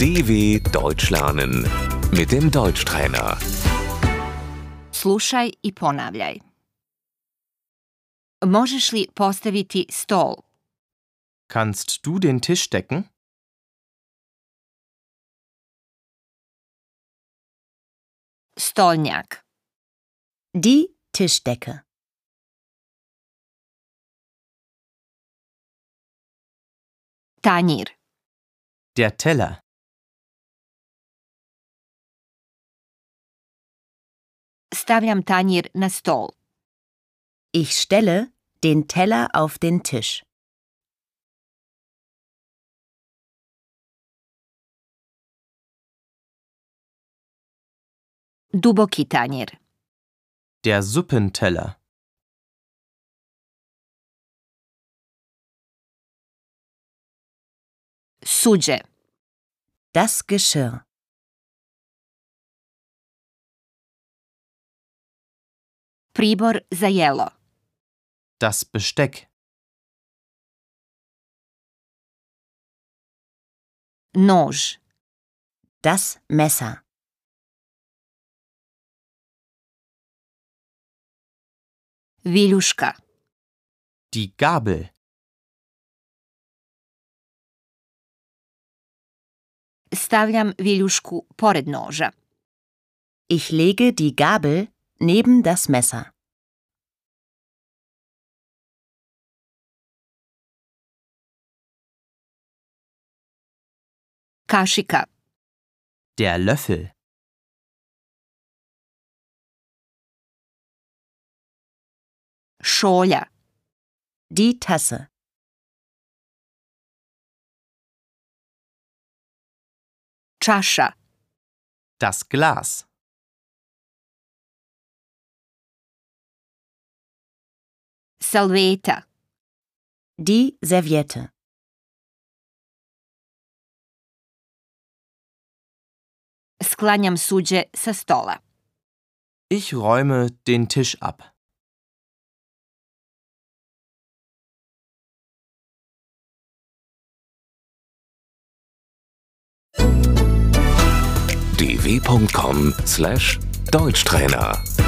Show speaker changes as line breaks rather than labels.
DW Deutsch lernen mit dem Deutschtrainer.
Slušaj i ponavljaj. Možeš li postaviti stol?
Kannst du den Tisch decken?
Stolnjak.
Die Tischdecke.
Tanjir.
Der Teller.
Stavljam tanjir na stol.
Ich stelle den Teller auf den Tisch.
Duboki tanjir.
Der Suppenteller.
Suđe.
Das Geschirr.
Pribor za jelo.
Das Besteck.
Nož.
Das Messer.
Viljuška.
Die Gabel.
Stavljam viljušku pored noža.
Ich lege die Gabel neben das Messer.
Kašika.
Der Löffel.
Šolja.
Die Tasse.
Čaša.
Das Glas.
Salveta.
Die Serviette.
Sklanjam suđe sa stola.
Ich räume den Tisch ab.
dw.com/deutschtrainer